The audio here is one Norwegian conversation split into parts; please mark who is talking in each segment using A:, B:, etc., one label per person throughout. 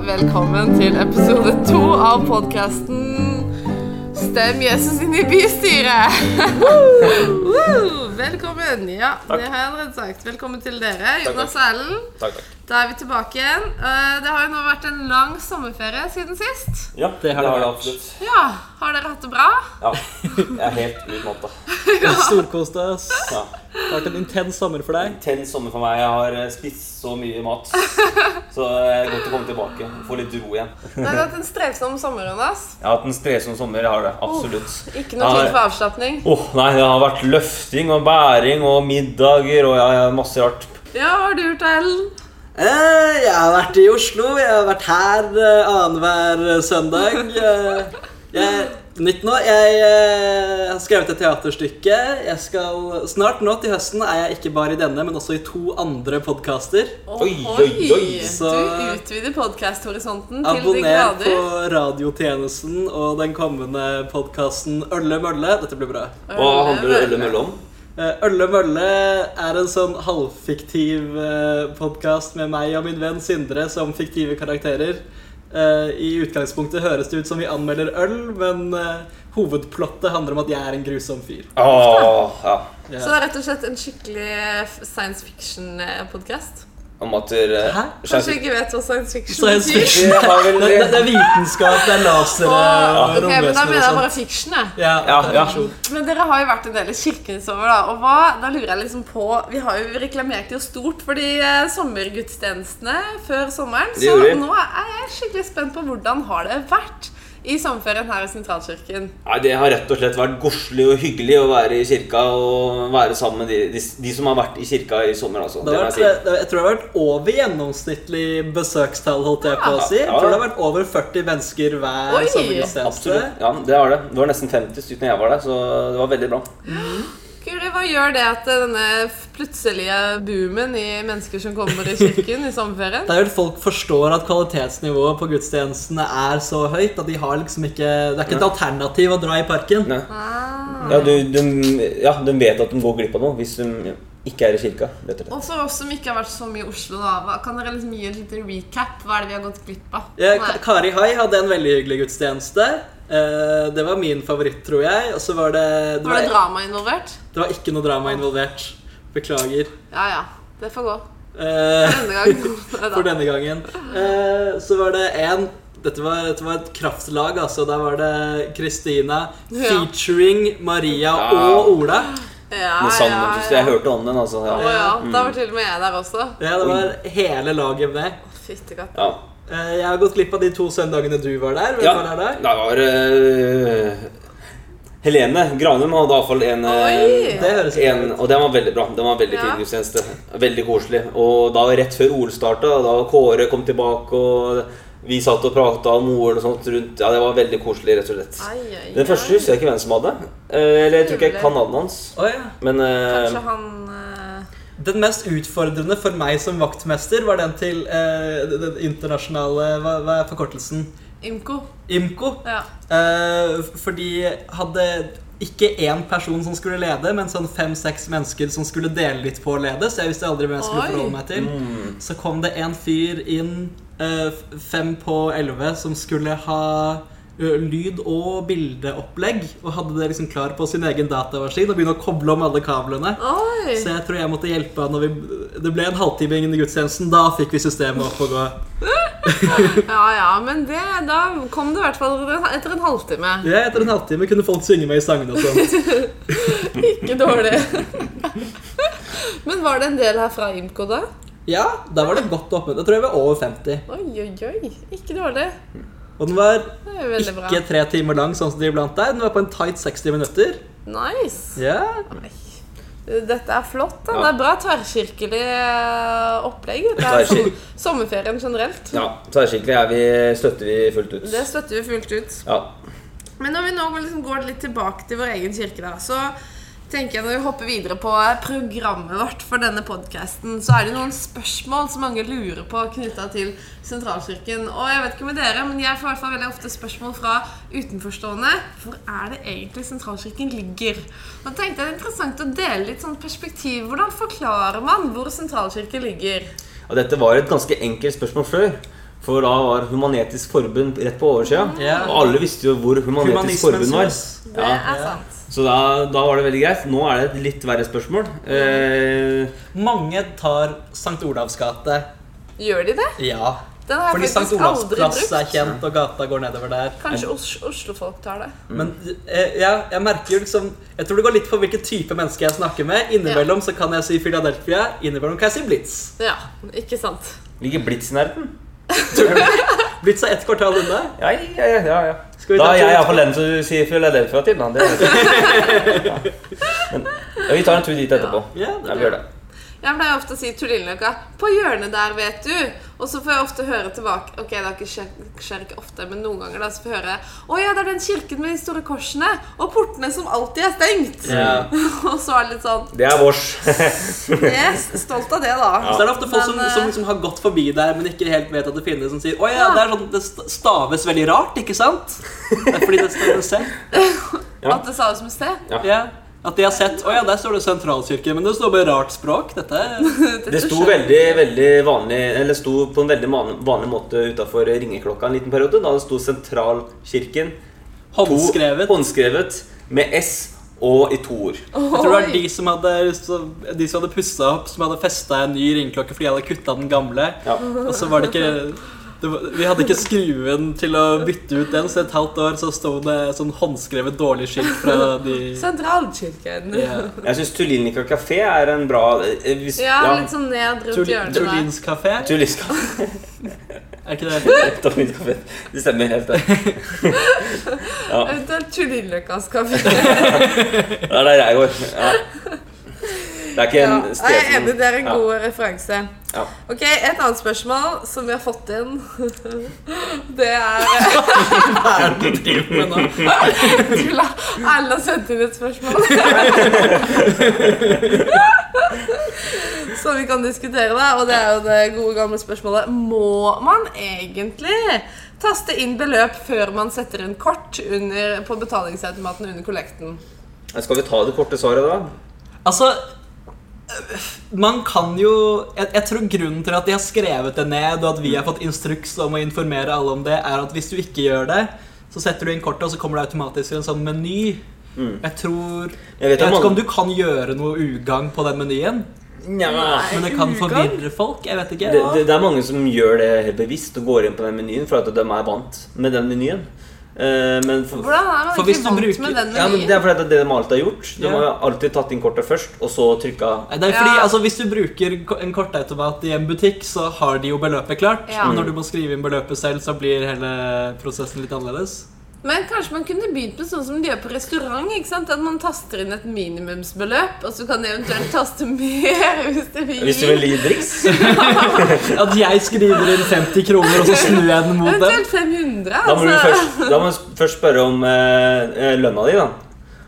A: Velkommen til episode to av podkasten Stem Jesus inn i bystyret! Woo! Velkommen. Ja,
B: Takk.
A: det har jeg allerede sagt. Velkommen til dere.
B: takk.
A: Jonas og Ellen,
B: Takk, takk.
A: da er vi tilbake igjen. Eh, Det har jo nå vært en lang sommerferie siden sist.
B: Ja,
C: Det har det vært.
B: absolutt.
A: Ja, Har dere hatt det bra?
B: Ja, jeg er helt utmatta.
C: Storkoste oss. Det
B: Ja.
C: har vært en intens sommer for deg.
B: Intens sommer for meg. Jeg har eh, spist så mye mat. Så det er godt å komme tilbake og få litt ro igjen.
A: Det har vært en strevsom sommer, Jonas.
B: Jeg har hatt en strevsom sommer. Jeg har det, absolutt.
A: Ikke noe tid
B: Jeg
A: for
B: har-
A: avslapning.
B: Åh, nei, det har vært løfting og bæring og middager og ja, ja, masse rart.
A: Ja, hva har du gjort, Ellen?
C: Eh, jeg har vært i Oslo. Jeg har vært her eh, annenhver eh, søndag. Eh, jeg, nytt nå. Jeg eh, har skrevet et teaterstykke. Jeg skal Snart nå til høsten er jeg ikke bare i denne, men også i to andre podkaster.
B: Oi, oi, oi.
A: Så... Du
C: Så-
A: utvider podcasthorisonten til de
C: Abonner
A: grader.
C: på radiotjenesten og den kommende podkasten Ølle Mølle. Dette blir bra.
B: Hva handler Ølle Mølle om?
C: Eh, Ølle Mølle er en sånn halvfiktiv podkast med meg og min venn Sindre som fiktive karakterer. Eh, I utgangspunktet høres det ut som vi anmelder øl, men eh, hovedplottet handler om at jeg er en grusom fyr.
B: Åh, ja.
A: Så det er rett og slett en skikkelig f- science fiction-podkast?
B: Om at eh, dere
C: Hæ?
A: Kanskje jeg ikke vet hva science fiction
C: Science
A: betyr?
C: fiction.
B: Jeg har
C: Det,
B: vel-
C: det, det er vitenskap, det er lasere,
A: Åh, ok, men da
C: romvesener
A: mener
C: og
A: jeg
C: sånn.
A: bare fiction. jeg.
C: Ja,
B: Ja, ja.
C: fiksjon.
A: Men dere har jo vært en del i Kirkenes over, da. Og hva, da lurer jeg liksom på Vi har jo reklamert jo stort for de eh, sommergudstjenestene før sommeren.
B: Det
A: Så
B: gjorde vi.
A: nå er jeg skikkelig spent på hvordan har det vært i sommerferien her i Sentralkirken.
B: Nei, Det har rett og slett vært godslig og hyggelig å være i kirka og være sammen med de, de, de som har vært i kirka i sommer. altså.
C: Det
B: må
C: har vært,
B: jeg si.
C: det- jeg tror det har vært over gjennomsnittlig besøkstall, holdt jeg på å si. Jeg
B: Ja.
C: tror det har vært over 40 mennesker
A: Oi.
C: hver sommergudstjeneste.
B: Absolutt. Ja, det har det. Det var nesten 50 stykker da jeg var der, så det var veldig bra.
A: Kuri, hva gjør det at eh, denne f- plutselige boomen i mennesker som kommer i kirken i sommerferien?
C: Det er vel folk forstår at kvalitetsnivået på gudstjenestene er så høyt at de har liksom ikke Det er ikke et alternativ å dra i parken.
B: Nei. Ja, du, de, ja, de vet at de går glipp av noe hvis de ikke er i kirka. Rett og slett.
A: Og for oss som ikke har vært så mye i Oslo, da, hva- kan dere liksom gi en liten recap? Hva er det vi har gått glipp av?
C: Eh, Ka-
A: Nei.
C: Kari Hai hadde en veldig hyggelig gudstjeneste. Eh, Det var min favoritt, tror jeg. Og så var det det
A: Var det
C: var,
A: drama involvert?
C: det var ikke noe drama involvert. Beklager.
A: Ja ja, det får gå.
C: Eh,
A: Denne gangen. Nei da.
C: For denne gangen. Eh, Så var det en dette var, dette var et kraftlag, altså. Der var det Kristina
A: Ja.
C: featuring Maria
B: Ja.
C: og Ola.
A: Ja, ja,
B: Men sannheten,
A: ja.
B: Jeg hørte om den, altså.
A: Å
B: Ja.
A: ja, da var til og med jeg der også.
C: Ja, det var hele laget med.
A: Fyttekatt.
B: Ja.
C: Eh, Jeg har gått glipp av de to søndagene du var der. Hvem
B: ja.
C: var der da?
B: Det var eh, Helene Granum hadde iallfall en eh,
A: Oi!
C: Det høres ikke
B: En, og den var veldig bra. Den var veldig
A: Ja.
B: fin gudstjeneste. Veldig koselig. Og da rett før OL starta, da Kåre kom tilbake, og vi satt og prata om OL og sånt rundt Ja, det var veldig koselig, rett og slett.
A: Ai, ai, ai.
B: Den første husker jeg ikke hvem som hadde. Eh, Eller jeg tror ikke jeg kan navnet hans.
C: Å ja.
B: Men eh,
A: Kanskje han eh,
C: Den mest utfordrende for meg som vaktmester var den til eh, den internasjonale hva, hva er forkortelsen?
A: Imko.
C: IMCO.
A: Ja.
C: Eh, f- fordi hadde ikke én person som skulle lede, men sånn fem-seks mennesker som skulle dele litt på å lede. Så jeg visste aldri hvem jeg skulle
A: Oi.
C: forholde meg til. Så kom det en fyr inn eh, f- fem på elleve som skulle ha ø, lyd- og bildeopplegg. Og hadde det liksom klar på sin egen datamaskin og begynne å koble om alle kablene.
A: Oi!
C: Så jeg tror jeg måtte hjelpe han. når vi- Det ble en halvtime inn i gudstjenesten. Da fikk vi systemet opp og gå.
A: Ja ja, men det, da kom det i hvert fall etter en halvtime.
C: Ja, etter en halvtime kunne folk synge med i sangene og sånn. sånt.
A: Ikke dårlig. Men var det en del her fra Imko, da?
C: Ja, da var det godt oppmøte. Jeg tror jeg var over 50.
A: Oi, oi, oi. Ikke dårlig.
C: Og den var
A: Det er jo veldig bra.
C: ikke tre timer lang, sånn som de iblant er. Den var på en tight 60 minutter.
A: Nice.
C: Ja.
A: Nei. Dette er flott. da.
B: Ja.
A: Det er bra tverrkirkelig eh, opplegg. Det er som,
B: Tverrkir-
A: sommerferien generelt.
B: ja, tverrskikkelig er vi, støtter vi fullt ut.
A: Det støtter vi fullt ut.
B: Ja.
A: Men når vi nå liksom går litt tilbake til vår egen kirke, da, så tenker jeg når vi hopper videre på programmet vårt for denne podkasten, så er det noen spørsmål som mange lurer på knytta til sentralkirken. Og jeg vet ikke med dere, men jeg får i hvert fall veldig ofte spørsmål fra utenforstående. Hvor er det egentlig sentralkirken ligger? Og da tenkte jeg det er interessant å dele litt sånn perspektiv. Hvordan forklarer man hvor sentralkirken ligger?
B: Og dette var et ganske enkelt spørsmål før. For da var Humanetisk Forbund rett på oversida.
C: Ja.
B: Og alle visste jo hvor Humanetisk Forbund var.
C: hus.
A: Det
B: Ja.
A: er
C: Ja.
A: sant.
B: Så da, da var det veldig greit. Nå er det et litt verre spørsmål. Eh,
C: Mange tar St. Olavs gate.
A: Gjør de det?
C: Ja.
A: Den har
C: Fordi
A: jeg
C: St.
A: faktisk
C: Olavs
A: aldri
C: plass er
A: brukt.
C: kjent, og gata går nedover der.
A: Kanskje Os Oslofolk tar det.
B: Mm.
C: Men eh, ja, jeg merker jo liksom Jeg tror det går litt på hvilken type menneske jeg snakker med. Innimellom så kan jeg si Philadelphia, innimellom kan jeg si Blitz.
A: Ja, ikke sant.
B: ligger Blitz i nærheten?
C: Blitz er ett kvartal unna.
B: Ja, ja, ja. ja, ja.
C: Skal vi
B: Da
C: ta
B: er jeg
C: tur?
B: iallfall den som sier Philadelphia til. Da. Det vet jeg. Ja. Men, ja, vi tar en tur dit etterpå.
C: Ja, det
B: Ja, vi gjør det.
A: Jeg pleier ofte å si til Lilleløkka 'På hjørnet der, vet du'. Og så får jeg ofte høre tilbake Ok, det har ikke skje- skjer ikke ofte, men noen ganger da, så får jeg høre 'Å ja, det er den kirken med de store korsene og portene som alltid er stengt'.
C: Ja.
A: og så er det litt sånn
B: Det er vårs.
A: Yes, stolt av det, da.
C: Så er det ofte folk
A: Men,
C: som,
A: eh,
C: som liksom har gått forbi der, men ikke helt vet at det finnes, som sier Å ja, det, er sånn, det st- staves veldig rart, ikke sant? Det er fordi det står en C.
B: Ja.
A: At det sa det som sted.
C: Ja. At de har sett Å ja, der står det sentralkirke, men det står bare rart språk. Dette
B: Det sto veldig, veldig vanlig Eller sto på en veldig van- vanlig måte utafor ringeklokka en liten periode. Da det sto Sentralkirken to-
C: håndskrevet.
B: håndskrevet med S og i to ord.
C: Jeg tror det var de som hadde, de som hadde pussa opp, som hadde festa en ny ringeklokke fordi de hadde kutta den gamle.
B: Ja.
C: Og så var det ikke det var, Vi hadde ikke skruen til å bytte ut den, så et halvt år så sto det sånn håndskrevet dårlig skilt fra de
A: Sånn. Sentralkirken. Ja,
C: ja.
B: Jeg syns Tullinka kafé er en bra eh, hvis,
A: litt sånn ned rundt
C: Turli-
A: hjørnet der.
C: Turlins kafé.
B: Tullinska
C: Er ikke det
B: Tullinska kafé. Det stemmer helt, det. Ja,
A: Eventuelt Tullinløkkas kafé.
B: det er der jeg går. Ja. Det er ikke
A: Ja,
B: en sted
A: jeg er enig, det er en
B: Ja.
A: god referanse.
B: Ja.
A: Ok, Et annet spørsmål som vi har fått inn, det er
C: Hva er det du driver med nå?
A: Erlend har sendt inn et spørsmål. Som vi kan diskutere, da. Og det er jo det gode gamle spørsmålet Må man egentlig taste inn beløp før man setter inn kort under, på betalingsautomaten under kollekten?
B: Men Skal vi ta det korte svaret, da?
C: Altså øh, man kan jo jeg, jeg tror grunnen til at de har skrevet det ned, og at vi har fått instruks om å informere alle om det, er at hvis du ikke gjør det, så setter du inn kortet, og så kommer det automatisk en sånn meny. Jeg
B: Mm.
C: tror
B: Jeg
C: Jeg
B: vet,
C: vet
B: at
C: ikke om
B: mange-
C: du kan gjøre noe ugagn på den menyen,
B: Nja.
C: men det kan
A: Ugagn?
C: forvirre folk. Jeg vet ikke.
B: Det, det, det er mange som gjør det helt bevisst og går inn på den menyen for at de er vant med den menyen. Eh, men for,
A: Hvordan er man
C: For
A: egentlig
C: hvis du
A: vant
C: bruker-
A: med den
B: ja, men
A: menyen?
B: det er fordi det er det de alltid har gjort. De
C: Ja.
B: har alltid tatt inn kortet først, og så trykka
C: Nei, Det er fordi,
A: Ja.
C: altså, Hvis du bruker ko- en kortautomat i en butikk, så har de jo beløpet klart.
A: Ja.
C: Men når du må skrive inn beløpet selv, så blir hele prosessen litt annerledes.
A: Men kanskje man kunne begynt med sånn som de gjør på restaurant. ikke sant? At man taster inn et minimumsbeløp, og så kan de eventuelt taste mer hvis de vil.
B: Hvis du vil gi driks.
C: At jeg skriver inn 50 kroner, og så snur jeg den mot dem.
A: Eventuelt 500.
B: Da må du
A: altså.
B: først, da må du først spørre om eh, eh, lønna di, da.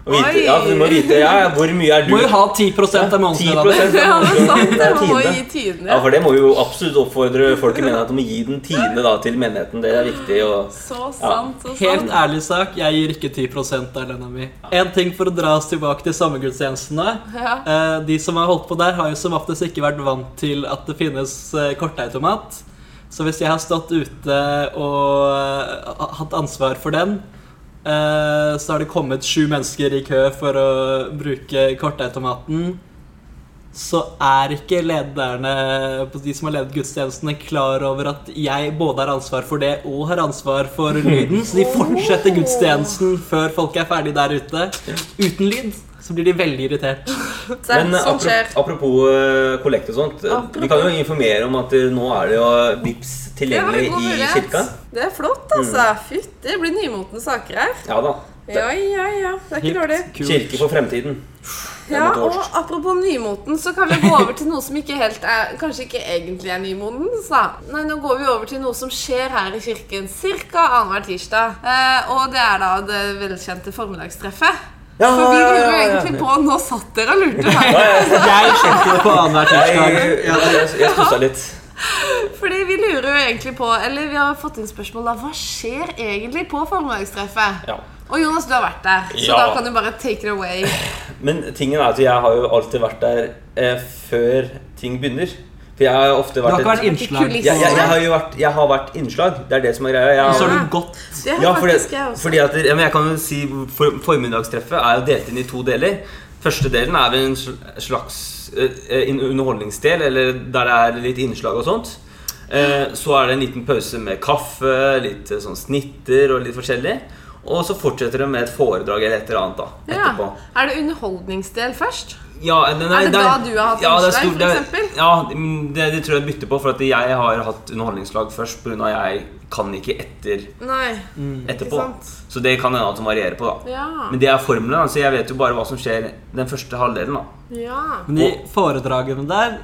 B: Og vite,
A: Oi.
B: ja, du må vite ja, ja, hvor mye er du
C: Må jo ha 10 av månedslønna di.
B: 10%
A: Ja, men sant, det
B: er
A: man må
B: tiende.
A: gi tidene.
B: Ja, for det må vi jo absolutt oppfordre folk i menigheten om å gi den tiende da, til menigheten. Det er viktig. Og,
A: Så sant. Så sant.
C: Helt ærlig sak, jeg gir ikke 10 av lønna mi. En ting for å dra oss tilbake til sommergudstjenestene.
A: Ja.
C: Eh, De som har holdt på der, har jo som oftest ikke vært vant til at det finnes eh, kortautomat. Så hvis jeg har stått ute og eh, ha- hatt ansvar for den, eh, så har det kommet sju mennesker i kø for å bruke kortautomaten. Så er ikke lederne på de som har ledet gudstjenestene, klar over at jeg både har ansvar for det og har ansvar for lyden. Så de fortsetter gudstjenesten før folk er ferdig der ute. Uten lyd så blir de veldig irritert.
A: Så er det
B: Men eh,
A: sånn
B: apro-
A: skjer.
B: apropos eh, kollekt og sånt. eh, Vi kan jo informere om at eh, nå er det jo Vipps
A: Det var en
B: tilgjengelig
A: god
B: i
A: mulighet.
B: kirka. Mm.
A: Det er flott, altså. Fytti, det blir nymotne saker her.
B: Ja da.
A: Ja, ja, ja. Det er ikke dårlig.
B: Kirke for fremtiden.
A: Ja,
B: Det er litt
A: og apropos nymoten, så kan vi gå over til noe som ikke helt er, kanskje ikke egentlig er nymotens. da. Nei, nå går vi over til noe som skjer her i kirken ca. annenhver tirsdag. Eh, og det er da det velkjente formiddagstreffet.
B: Ja,
A: For vi
B: ja, ja,
A: lurer jo
B: ja, ja.
A: egentlig på Nå satt dere og lurte her.
C: Jeg skjønte det på annenhver
B: Jeg,
C: tirsdag.
B: jeg, jeg, jeg stussa litt.
A: Fordi vi lurer jo egentlig på Eller vi har fått inn spørsmål da. Hva skjer egentlig på formiddagstreffet?
B: Ja.
A: Og Jonas, du har vært der, så
B: Ja.
A: da kan du bare take it away.
B: Men tingen er at jeg har jo alltid vært der eh, før ting begynner. For For jeg har ofte
D: Du har
B: vært
D: ikke vært
B: et-
D: innslag?
A: Kulisse.
B: jeg, jeg, jeg har jo vært, jeg har vært innslag. Det er det som er greia. Jeg
D: Og så
B: har,
D: har
A: Ah.
D: du gått
A: Det har
B: ja, fordi,
A: faktisk jeg også.
B: fordi at, ja, men jeg kan jo si for, Formiddagstreffet er jo delt inn i to deler. Første delen er vel en sl- slags eh, en underholdningsdel, eller der det er litt innslag og sånt. Eh, så er det en liten pause med kaffe, litt eh, sånn snitter og litt forskjellig. Og så fortsetter det med et foredrag eller et eller annet da, etterpå.
A: ja. Er det underholdningsdel først?
B: Ja, nei, nei,
A: Er det da du har hatt
B: det er
A: innslag,
B: stor-
A: for
B: det er-
A: eksempel?
B: Ja, mm, det, det tror jeg bytter på, for at jeg har hatt underholdningslag først pga. jeg kan ikke etter,
A: Nei.
B: etterpå.
A: Mm. sant?
B: Så det kan hende at det varierer på, da.
A: Ja.
B: Men det er formelen, da, så jeg vet jo bare hva som skjer den første halvdelen, da.
A: Ja.
C: Men de foredragene der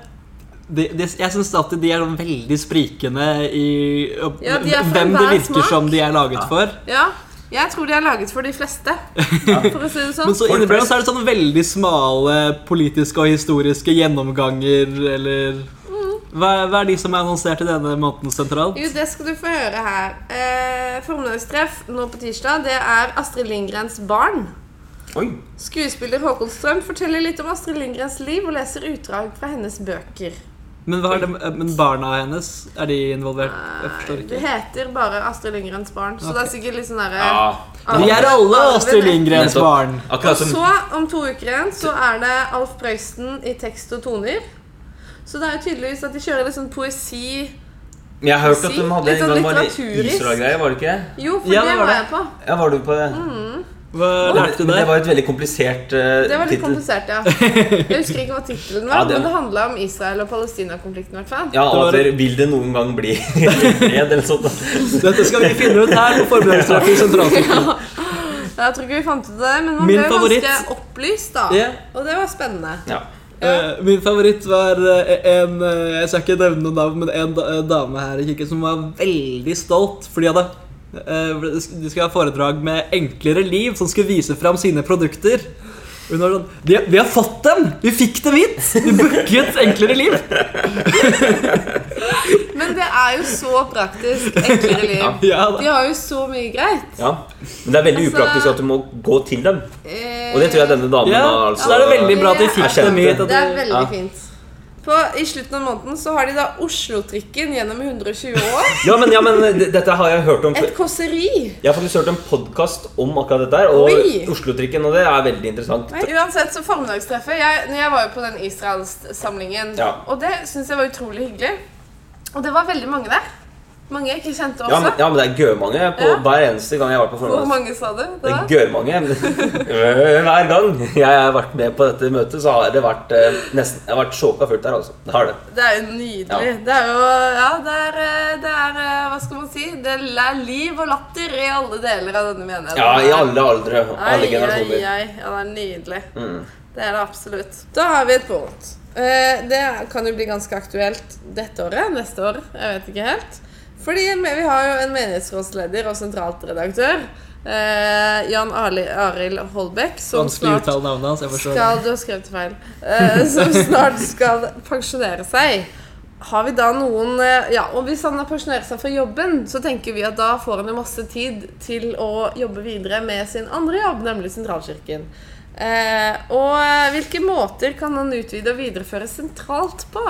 C: de, de, Jeg syns alltid de er sånn veldig sprikende i og,
A: Ja, de er for
C: hvem det
A: enhver
C: virker
A: smak.
C: som de er laget for.
A: ja. Jeg tror de er laget for de fleste, for å si det sånn.
C: Men så innimellom så er det sånne veldig smale politiske og historiske gjennomganger eller
A: Mm.
C: hva, er- hva er de som er annonsert i denne måneden sentralt?
A: Jo, det skal du få høre her. Eh, Formiddagstreff nå på tirsdag, det er Astrid Lindgrens barn.
B: Oi.
A: Skuespiller Håkon Strøm forteller litt om Astrid Lindgrens liv og leser utdrag fra hennes bøker.
C: Men, hva er det, men barna hennes, er de involvert? Jeg forstår
A: Det
C: ikke.
A: heter bare Astrid Lindgrens barn, så det er sikkert litt sånn derre
B: Ja.
C: Vi er alle Astrid Lindgrens
B: Nettopp.
C: barn.
B: Akkurat
A: Og
B: som
A: så, om to uker igjen, så er det Alf Prøysen i tekst og toner. Så det er jo tydeligvis at de kjører litt sånn poesi
B: Jeg har hørt at de hadde
A: Litt sånn
B: en gang var det
A: litteraturisk.
B: Israel-greie, var det ikke? det?
A: Jo, for
C: Ja,
A: det
C: det var
A: var
C: det.
A: jeg på.
B: Ja, var du på det?
C: Hva
B: Men
C: lærte
B: det,
C: du
B: men det
C: der?
B: var et veldig komplisert uh,
A: Mm. Det var litt
B: tittel.
A: komplisert, ja. Jeg husker ikke hva tittelen var,
B: Ja, det-
A: men det handla om Israel og Palestina-konflikten, i hvert fall.
B: Ja,
C: Det var-
B: altså, vil det noen gang bli fred, eller sånn? sånt? da?
C: Dette skal vi finne ut her på forberedelsestreff i sentralsykehus.
A: Jeg tror ikke vi fant ut det, men man
C: Min
A: ble jo
C: favoritt-
A: ganske opplyst, da.
C: Ja.
A: Og det var spennende.
B: Ja.
C: Eh, Min favoritt var eh, en eh, Jeg skal ikke nevne noen navn, men en da- eh, dame her i kirken som var veldig stolt. Fordi hadde, eh, de skulle ha foredrag med enklere liv, som skulle vise fram sine produkter. Og Hun var sånn vi, vi har fått dem! Vi fikk dem hit! Vi booket Enklere liv!
A: Men det er jo så praktisk. Enklere liv.
C: Ja,
A: De
C: da.
A: har jo så mye greit.
B: ja. Men det er veldig
A: Altså-
B: upraktisk at du må gå til dem.
A: Eh,
B: Og det tror jeg denne damen
C: ja,
B: da, altså,
C: så er det veldig bra at de fikk
B: erkjente.
C: dem hit. At
A: Det er
C: de,
A: veldig
B: Ja.
A: fint. På, I slutten av måneden så har de da Oslo-trikken gjennom 120 år.
B: Ja, men, ja, men d- dette har jeg hørt om før.
A: Et kåseri.
B: Jeg har faktisk hørt en podkast om akkurat dette her, og
A: Oi!
B: Oslo-trikken, og det er veldig interessant.
A: Nei, Uansett, så formiddagstreffet jeg, når jeg var jo på den Israelssamlingen,
B: Ja.
A: og det syns jeg var utrolig hyggelig. Og det var veldig mange der. Mange jeg ikke kjente
B: Ja, men,
A: også.
B: ja, men det er gørmange på
A: altså. Ja.
B: hver eneste gang jeg har vært på
A: Hvor
B: formiddags.
A: mange sa du?
B: Det
A: Det
B: er
A: var?
B: gørmange. Øh, Hver gang jeg har vært med på dette møtet, så har det vært eh, nesten Jeg har vært sjåka fullt der, altså. Det har det.
A: Det er jo nydelig.
B: Ja.
A: Det er jo Ja, det er, eh, det er eh, Hva skal man si? Det er liv og latter i alle deler av denne menigheten.
B: Ja, i alle aldre. Alle
A: Ai,
B: generasjoner. Mm.
A: Ai, ai. Ja, det er nydelig. Det er det absolutt. Da har vi et punkt. Eh, Det kan jo bli ganske aktuelt dette året, neste år, jeg vet ikke helt. Fordi me- vi har jo en menighetsrådsleder og sentralredaktør, eh, Jan Ali, Arild Holbæk, som
C: vanskelig å
A: snart
C: uttale navnet hans. Jeg forstår det.
A: skal Du har skrevet feil. Eh, som snart skal pensjonere seg. Har vi da noen eh, Ja, og hvis han har pensjonert seg fra jobben, så tenker vi at da får han jo masse tid til å jobbe videre med sin andre jobb, nemlig sentralkirken. Eh, og eh, hvilke måter kan han utvide og videreføre sentralt på?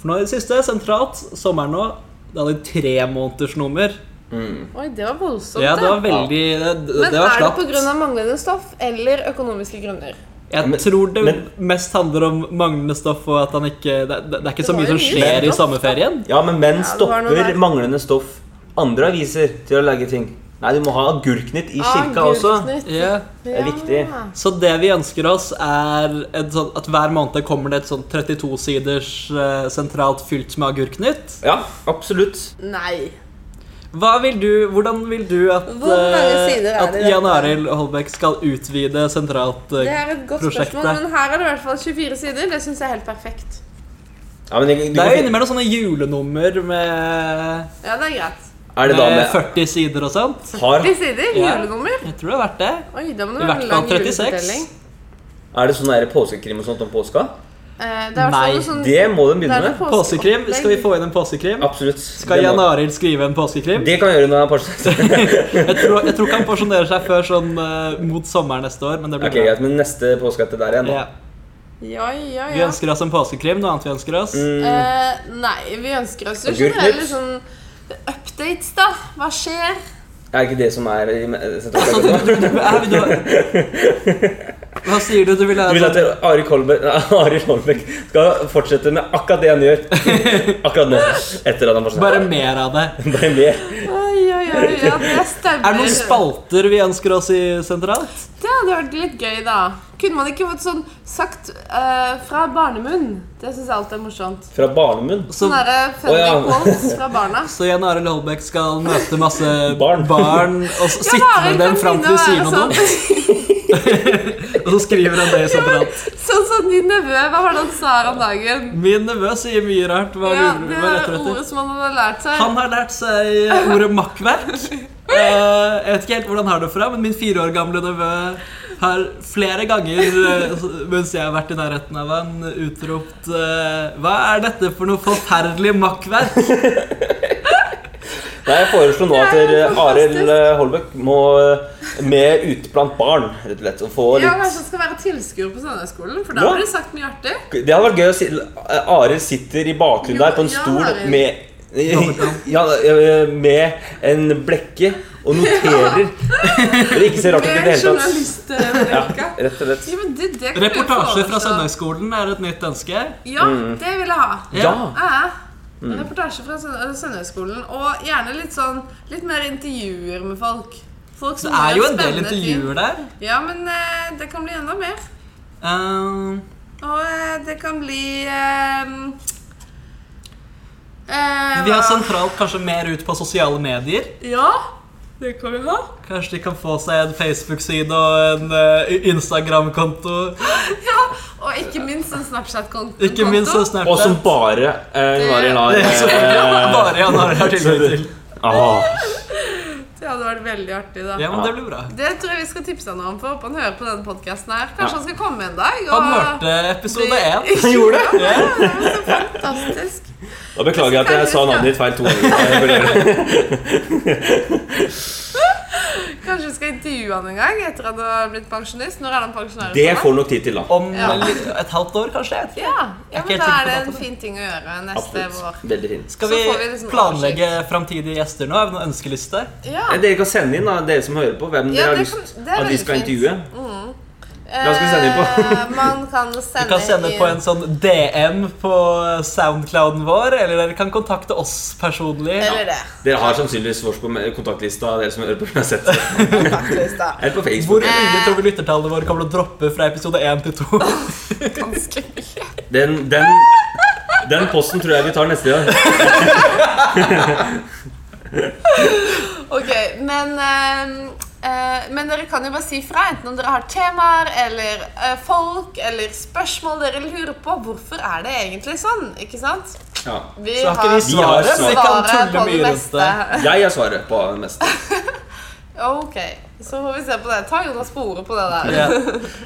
C: For nå i det siste, sentralt, sommeren nå, da hadde de tremånedersnummer.
A: Oi, det var voldsomt.
C: Ja, det var
A: da.
C: veldig Det, det,
A: Men
C: det var
A: er det
C: slapt.
A: pga. manglende stoff eller økonomiske grunner?
C: Jeg
B: Men-
C: tror det
B: men-
C: mest handler om manglende stoff og at han ikke Det, det, det er ikke så
A: Det
C: mye
A: var jo
C: som
A: mye
C: skjer i
A: stoff,
C: sommerferien.
B: Ja, men menn
A: det var noe
B: stopper
A: der.
B: manglende stoff andre aviser til å lage ting. Nei, du må ha agurknytt i kirka også.
A: Agurknytt.
C: Ja.
B: Det er viktig.
A: Ja.
C: Så det vi ønsker oss, er et sånt, at hver måned kommer det et sånn 32-siders eh, sentralt fylt med agurknytt.
B: Ja, absolutt.
A: Nei.
C: Hva vil du, hvordan vil du at,
A: Hvor mange
C: eh,
A: sider er
C: at
A: det i
C: Jan
A: dette?
C: Arild Holbæk skal utvide sentralt eh,
A: Det er et godt
C: prosjektet?
A: spørsmål, men her er det i hvert fall 24 sider. Det syns jeg er helt perfekt.
B: Ja, men du, du,
C: Det er jo
B: kan-
C: innimellom sånne julenummer med,
A: Ja, det er greit.
B: er det da
C: med
B: med
C: 40 sider og sånt.
A: 40
B: har,
A: sider?
C: Ja.
A: Julenummer?
C: Jeg tror det er verdt det.
A: Oi, da må
C: I
A: det være
C: hvert
A: en lang
C: fall 36.
A: julefortelling.
B: Er det sånn der påskekrim og sånt om påska?
A: Eh, det er
C: Nei,
A: Nei, sånn,
B: Det må de
A: det
B: begynne
A: er
B: med.
A: påske-
C: Påsekrim. Skal vi få inn en påsekrim?
B: Absolutt.
C: Skal
B: Det må-
C: Jan Arild skrive en påskekrim?
B: Det kan jeg gjøre når jeg er pensjonist.
C: Jeg tror, jeg tror ikke han pensjonerer seg før sånn eh, mot sommeren neste år, men det blir
B: Ok, greit, men neste påske etter der igjen.
C: bra. Ja.
B: da.
A: Ja, ja,
C: Vi
A: ja.
C: ønsker oss en påskekrim. Noe annet vi ønsker oss?
B: Mm.
A: Eh, nei, vi ønsker oss jo
B: Agurknytt.
A: generelle sånn updates, da. Hva skjer?
B: Er det ikke det som er i me- sentralt?
C: Du, du, du, er, du, hva sier du altså du ville
B: Du vil at Ari Kolbekk, Ari Kolbekk skal fortsette med akkurat det han gjør akkurat nå. Etter at han fortsatt.
C: Bare mer av det.
B: Bare mer.
A: Oi, oi, oi, ja, det stemmer.
C: Er det noen spalter vi ønsker oss i sentralt?
A: Det hadde vært litt gøy, da. Kunne man ikke fått sånn sagt eh, fra barnemunn? Det syns jeg alltid er morsomt.
B: Fra barnemunn.
C: Så,
A: Sånn derre funny
B: Å, ja.
A: quotes fra barna.
C: så Jan Arild Holbæk skal møte masse
B: Barn.
C: barn og så
A: Ja,
C: sitte
A: Arild
C: med dem
A: kan
C: fram til
A: begynne
C: de
A: å
C: sier
A: være
C: noe dumt,
A: sånn,
C: og så skriver han det i sentralt.
A: sånn som din nevø. Hva var det han sa her om dagen?
C: Min nevø sier mye rart. Hva
A: Ja,
C: lurer du
A: det
C: hva leter
A: er
C: du etter?
A: ordet som han hadde lært seg.
C: Han har lært seg ordet makkverk. Eh, jeg vet ikke helt hvordan han har det fra, men min fire år gamle nevø har flere ganger eh, mens jeg har vært i nærheten av han, utropt eh, Hva er dette for noe forferdelig makkverk?
B: Nei, jeg foreslår nå at
A: Det er
B: dere,
A: fantastisk.
B: Arild Holbæk må eh, med ut blant barn, rett og slett. Og få
A: Ja, altså-
B: litt
A: kanskje han skal være tilskuer på Sandnesskolen, for da
B: Ja.
A: blir det sagt mye artig.
B: Det hadde vært gøy å si eh, Arild sitter i
A: Jo,
B: bakgrunnen der på en
A: ja,
B: stol
A: Arild.
B: med
C: Dobbeltnavn.
B: ja, eh, med en blekke og noterer. Det ikke ser rart ut i det
A: Med
B: hele tatt. Ja,
A: journalistbrekka.
B: rett og slett.
A: Ja, men det, det kan vi jo
C: Reportasje fra
A: foreslå.
C: søndagsskolen er et nytt ønske.
A: Ja, det vil jeg ha.
B: Ja.
A: Ja.
C: Mm.
A: Reportasje fra Søn- øh, Søndagsskolen. Og gjerne litt sånn Litt mer intervjuer med folk. folk
C: Det
A: som
C: er
A: gjør
C: jo en del
A: spennende
C: intervjuer der.
A: ting. Ja, men eh, det kan bli enda mer.
C: Eh,
A: Og eh, det kan bli eh, eh,
C: vi har sånn
A: hva-
C: sentralt kanskje mer ut på sosiale medier.
A: Ja, det kan vi ha.
C: Kanskje de kan få seg en Facebook-side og en eh, Instagram-konto.
A: Ja, Og ikke minst en Snapchat-konto.
C: Ikke minst sånn en Snapchat.
B: Og som bare eh, Arild har
C: Det er så-
B: eh,
C: Bare Jan Arild har tilgang til.
B: ah.
A: Det hadde vært veldig artig, da.
C: Ja, men det blir bra.
A: Det tror jeg vi skal tipse han om, for jeg håper han hører på denne podkasten her. Kanskje
B: Ja.
A: han skal komme en dag? og-
C: Han hørte episode én.
A: Det-
B: Han gjorde det?
A: Ja, det er så fantastisk.
B: Da beklager jeg at jeg sa navnet ditt feil to ganger.
A: Kanskje vi skal intervjue han en gang etter at han har blitt pensjonist? Når er han pensjonær?
B: Det får du nok tid til, da.
C: Om
A: Ja.
C: li- et halvt år, kanskje? Jeg vet ikke.
A: Ja, ja
C: Jeg er ikke
A: men
C: helt
A: da
C: sikker
A: er det en
C: på datoen.
A: fin ting å gjøre neste vår.
B: Absolutt. Veldig fint.
C: Skal
A: Så
C: vi
A: får vi liksom
C: planlegge framtidige gjester nå? Har vi noen ønskeliste?
A: Ja,
B: Eh, Dere kan sende inn, da, dere som hører på, hvem
A: ja
B: dere har
A: det,
B: lyst
A: kan, det er
B: at vi
A: veldig
B: skal
A: fint.
B: intervjue.
A: Hva
B: skal vi sende inn
A: eh, man kan
C: Du
A: sende,
C: kan sende på en sånn DM på soundclouden vår, eller dere kan kontakte oss personlig.
A: Eller det.
B: Dere har sannsynligvis vår på kontaktlista, dere som hører på uansett. Eller
A: Faktisk, da.
B: på
C: Hvor
B: Facebook.
A: Eh.
C: mye tror vi lyttertallene våre kommer til å droppe fra episode 1 til 2?
A: Ganske mye.
B: Den, den, den posten tror jeg vi tar neste gang.
A: Ok, men ehm, eh, Men dere kan jo bare si fra, enten om dere har temaer eller eh, folk eller spørsmål dere lurer på. Hvorfor er det egentlig sånn? Ikke sant?
B: Ja.
A: Vi
C: Så har ikke vi
B: har
C: svaret, men vi kan tulle mye rundt det.
B: Jeg er svaret på det meste.
A: Ok, så får vi se på det. Ta Jonas på ordet på det der.
C: Ja,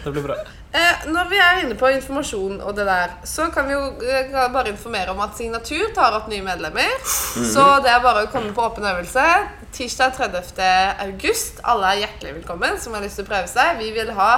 C: det blir bra.
A: Eh, når vi er inne på informasjon og det der, så kan vi jo eh, kan bare informere om at Signatur tar opp nye medlemmer.
C: Mhm.
A: Så det er bare å komme på åpen øvelse. Tirsdag 30. august. Alle er hjertelig velkommen som har lyst til å prøve seg. Vi vil ha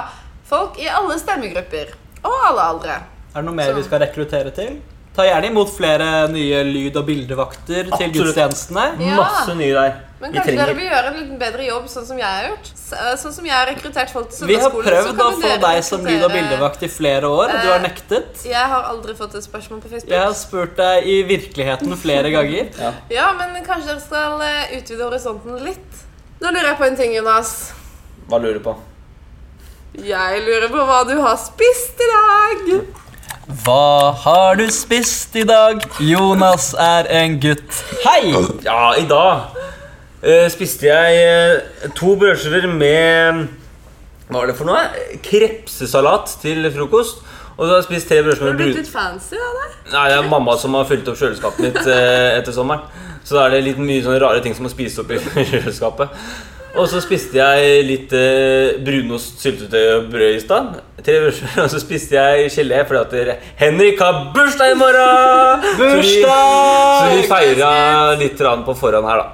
A: folk i alle stemmegrupper. Og alle aldre.
C: Er det noe mer vi skal rekruttere til? Ta gjerne imot flere nye lyd- og bildevakter til
B: Absolutt.
C: gudstjenestene.
A: Ja.
B: Masse nye der.
A: Men
B: Vi
A: kanskje dere
B: trenger
A: vil gjøre en litt bedre jobb, sånn som jeg har gjort? S- eh, Sånn som jeg har rekruttert folk til
C: Vi har
A: søndagsskolen, så kan
C: prøvd å
A: jo
C: få
A: dere
C: deg som lyd- og
A: rekruttere-
C: bildevakt i flere år, og du har
A: Eh,
C: nektet.
A: Jeg har aldri fått et spørsmål på Facebook.
C: Jeg har spurt deg i virkeligheten flere ganger.
A: Ja, men kanskje dere skal eh, utvide horisonten litt? Nå lurer jeg på en ting, Jonas.
B: Hva lurer du på?
A: Jeg lurer på hva du har spist i dag.
C: Hva har du spist i dag? Jonas er en gutt. Hei!
B: Ja, i dag eh, spiste jeg eh, to brødskiver med Hva var det for noe? Krepsesalat til frokost. Og så har jeg spist tre brødskiver
A: Har du
B: med
A: blitt
B: brun...
A: litt fancy av det?
B: Nei, det er mamma som har fylt opp kjøleskapet mitt eh, etter sommeren. Så da er det litt mye sånne rare ting som må spises opp i kjøleskapet. Og så spiste jeg litt eh, brunost, syltetøy og brød i stad. Tre brødskiver. Og så spiste jeg gelé fordi at dere- Henrik har bursdag i morgen! Så vi- Så vi feira litt grann på forhånd her, da.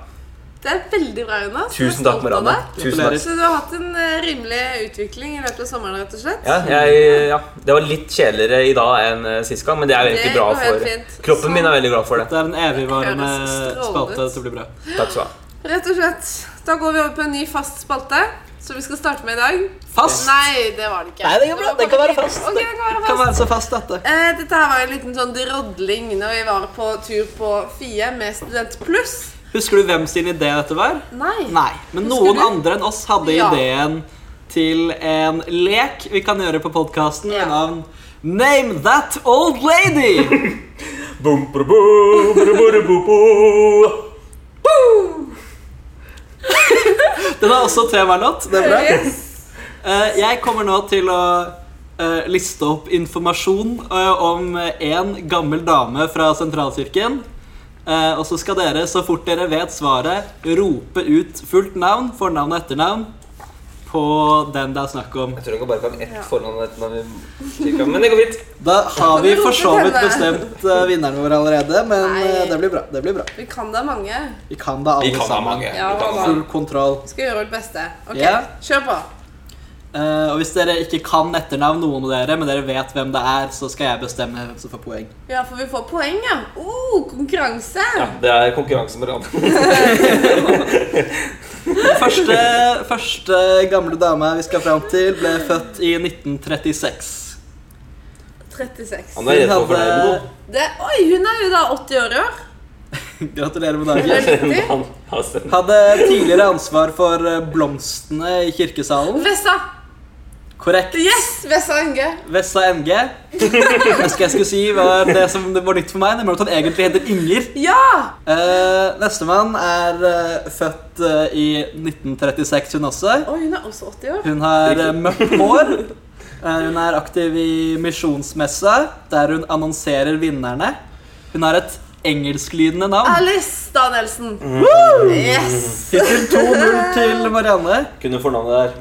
A: Det er veldig bra, Jonas. Jeg er
B: Tusen takk,
A: stolt av
B: Marianne.
A: deg.
B: Tusen takk.
A: Så du har hatt en eh, rimelig utvikling i løpet av sommeren, rett og slett.
B: Ja, jeg, ja. Det var litt kjedeligere i dag enn eh, sist gang, men det er jo
A: Det
B: egentlig bra
A: går helt
B: for
A: fint.
B: Kroppen min er veldig glad for det.
C: Det er en evigvarende
A: Høres strålende
C: spalte.
A: ut.
C: Dette blir bra.
B: Takk skal du ha.
A: Rett og slett. Da går vi over på en ny fast spalte, som vi skal starte med i dag.
C: Fast?
A: Nei, det var det ikke.
C: Nei, det går bra.
A: var
C: Den kan
A: bare
C: være
A: litt-
C: fast.
A: Ok, den kan være
C: Kan
A: fast.
C: være så fast, dette.
A: Eh, dette her var en liten sånn drodling når vi var på tur på FIE med Student Pluss.
C: Husker du hvem sin idé dette var?
A: Nei.
C: Nei. Men
A: Husker
C: noen
A: du?
C: andre enn oss hadde
A: Ja.
C: ideen til en lek vi kan gjøre på podkasten
A: Ja.
C: med navn Name That Old Lady!
B: Bum, bru, bu, bru, bru, bu, bu.
C: Den er også temalåt. Det er bra.
A: Yes.
C: Eh, jeg kommer nå til å eh, liste opp informasjon eh, om en gammel dame fra sentralkirken. Eh, og så skal dere, så fort dere vet svaret, rope ut fullt navn, fornavn og etternavn på den det er snakk om.
B: Jeg tror ikke bare kan ett fornavn og ett navn, cirka, men det går fint.
C: Da har vi for så vidt
A: Rope til henne.
C: bestemt eh, vinnerne våre allerede, men
A: Nei.
C: eh, det blir bra. det blir bra.
A: Vi kan da mange.
C: Vi kan da
B: Vi
C: alle
B: kan ha
C: sammen.
B: mange. Vi
A: Ja,
B: kan ha
C: Full
B: mange.
C: kontroll.
A: Vi skal gjøre vårt beste. Ok,
C: Ja.
A: Kjør på.
C: Eh, og hvis dere ikke kan etternavn, noen av dere, men dere vet hvem det er, så skal jeg bestemme hvem som får poeng.
A: Ja, for vi får poeng, ja. Oh, konkurranse.
B: Ja, det er konkurranse med hverandre.
C: Første, første gamle dame vi skal fram til, ble født i 1936.
A: 36.
B: Han er redd for å fornærme noen.
A: Det, oi, hun er jo da 80 år i år.
C: Gratulerer med dagen.
A: riktig.
B: Han har stemt.
C: Hadde tidligere ansvar for eh, blomstene i kirkesalen.
A: Vessa!
C: Korrekt.
A: Yes! Vessa Inge.
C: Vessa NG. Det skal jeg skulle si var det som var nytt for meg, nemlig at han egentlig heter Inger.
A: Ja!
C: Uh, Nestemann er eh, født eh, i 1936, hun også.
A: Oi, hun er også 80 år.
C: Hun har eh, mørkt hår. Eh, Hun er aktiv i misjonsmessa, der hun annonserer vinnerne. Hun har et engelsklydende navn.
A: Alice Danielsen. Yes!
C: Tittel 2-0 til Marianne.
B: Kunne fornavnet der.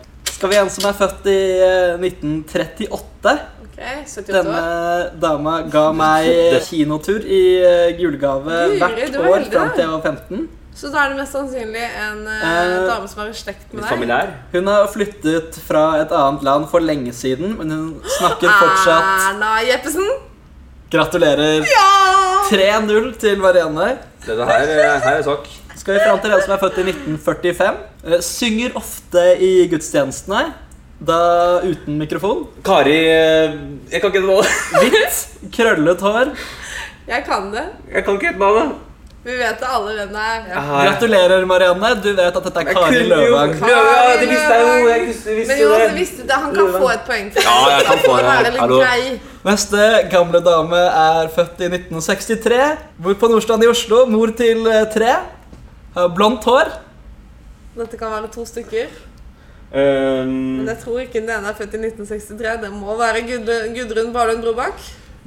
C: Skal vi ha en som er født i eh, 1938?
A: Ok, 78
C: Denne
A: år.
C: dama ga meg kinotur i eh, julegave
A: Guri,
C: hvert
A: du er
C: år
A: heldig,
C: fram
A: da.
C: til jeg var 15.
A: Så da er det mest sannsynlig en eh,
C: Eh,
A: dame som er i slekt med
B: Litt
A: deg.
B: familiær.
C: Hun har flyttet fra et annet land for lenge siden, men hun snakker fortsatt.
A: Erna Jeppesen.
C: Gratulerer.
A: Ja!
C: 3-0 til Marianne.
B: Dette her, eh, her er sak.
C: Skal vi fram til en som er født i 1945. Eh, Synger ofte i gudstjenestene, da uten mikrofon.
B: Kari eh, Jeg kan ikke hete navnet.
C: Hvitt, krøllet hår.
A: Jeg kan det.
B: Jeg kan ikke hete navnet.
A: Vi vet alle hvem det er. Ja.
B: Ah, jeg-
C: Gratulerer, Marianne. Du vet at dette er
B: Jeg
C: Kari
B: kunne jo-
C: Løvang.
B: Ja, det visste jeg jo. Jeg visste, visste
A: Men altså, Jonas,
B: det.
A: visste du det? Han kan få et poeng. for
B: Ja, jeg
A: det.
B: kan få
A: Han
B: det.
A: er litt
B: Hallo.
A: grei.
C: Neste gamle dame er født i 1963. Bor på Nordstrand i Oslo. Mor til eh, tre. Har blondt hår.
A: Dette kan være to stykker.
B: Ehm,
A: Men jeg tror ikke den ene er født i 1963. Det må være Gudrun, Gudrun Barlund Brobakk.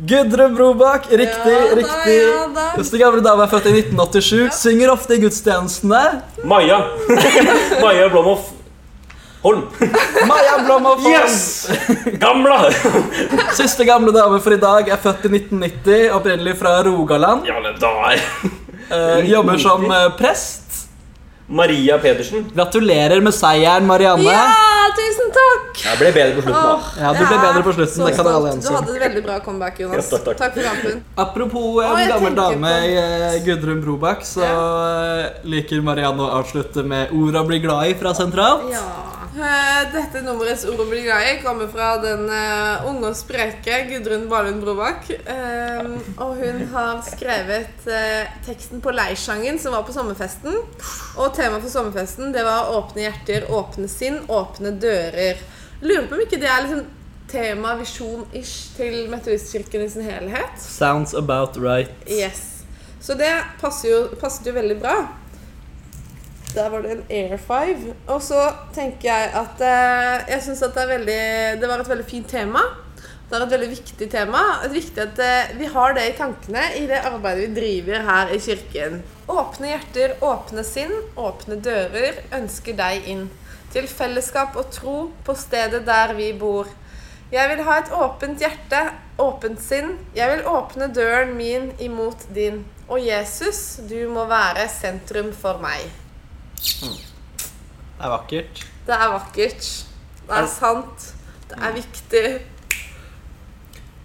C: Gudrun Brobakk. Riktig,
A: Ja da,
C: riktig.
A: ja da.
C: Neste gamle dame er født i 1987. Synger ofte i gudstjenestene.
B: Maja. Maja Blomhoff Holm.
C: Maja Blomhoff.
B: Yes! Gamla!
C: Siste gamle dame for i dag er født i 1990, opprinnelig fra Rogaland.
B: Ja, men da er
C: Eh, jobber som eh, prest.
B: Maria Pedersen.
C: Gratulerer med seieren, Marianne.
A: Ja, tusen takk!
B: Jeg ble bedre på slutten. da.
A: Åh,
C: Ja, du ble
A: jeg er
C: bedre på slutten,
A: så
C: det kan alle
A: stolt.
C: enige
A: Du
C: om.
A: hadde et veldig bra comeback, Jonas.
B: Ja, takk, takk.
A: Takk for kampen.
C: Apropos eh,
A: Å, jeg
C: gammel
A: tenker
C: dame
A: på-
C: eh, Gudrun Brobakk, så eh, liker Marianne å avslutte med 'Orda blir glad i' fra sentralt.
A: Ja. Eh, Dette nummerets ord å bli glad i kommer fra den eh, unge og spreke Gudrun Barlund Brobakk. Eh, og hun har skrevet eh, teksten på Leirsangen som var på sommerfesten. Og temaet for sommerfesten det var 'Åpne hjerter, åpne sinn, åpne dører'. Lurer på om ikke det er liksom tema, visjon-ish til Metodistkirken i sin helhet.
C: Sounds about right.
A: Yes. Så det passer jo, passet jo veldig bra. Der var det en Air 5. Og så tenker jeg at eh, jeg syns at det er veldig Det var et veldig fint tema. Det er et veldig viktig tema. Det er viktig at eh, vi har det i tankene i det arbeidet vi driver her i kirken. Åpne hjerter, åpne sinn, åpne dører, ønsker deg inn. Til fellesskap og tro på stedet der vi bor. Jeg vil ha et åpent hjerte, åpent sinn. Jeg vil åpne døren min imot din. Og Jesus, du må være sentrum for meg.
C: Det er vakkert.
A: Det er vakkert. Det er sant. Det er viktig.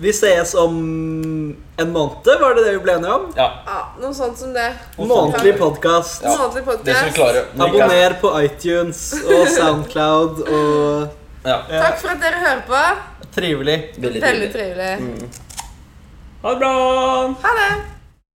C: Vi ses om en måned, var det det vi ble enige om?
B: Ja.
A: Ja, noe sånt som det.
C: Månedlig podkast.
B: Ja.
A: Månedlig
D: Det skal vi
A: podkast.
D: klare. Når ikke er-
C: Abonner på iTunes og Soundcloud og
B: ja.
A: Takk for at dere hører på.
C: Trivelig.
D: Veldig
A: Veldig
D: Mm. trivelig.
A: trivelig.
B: Ha det bra!
A: Ha det.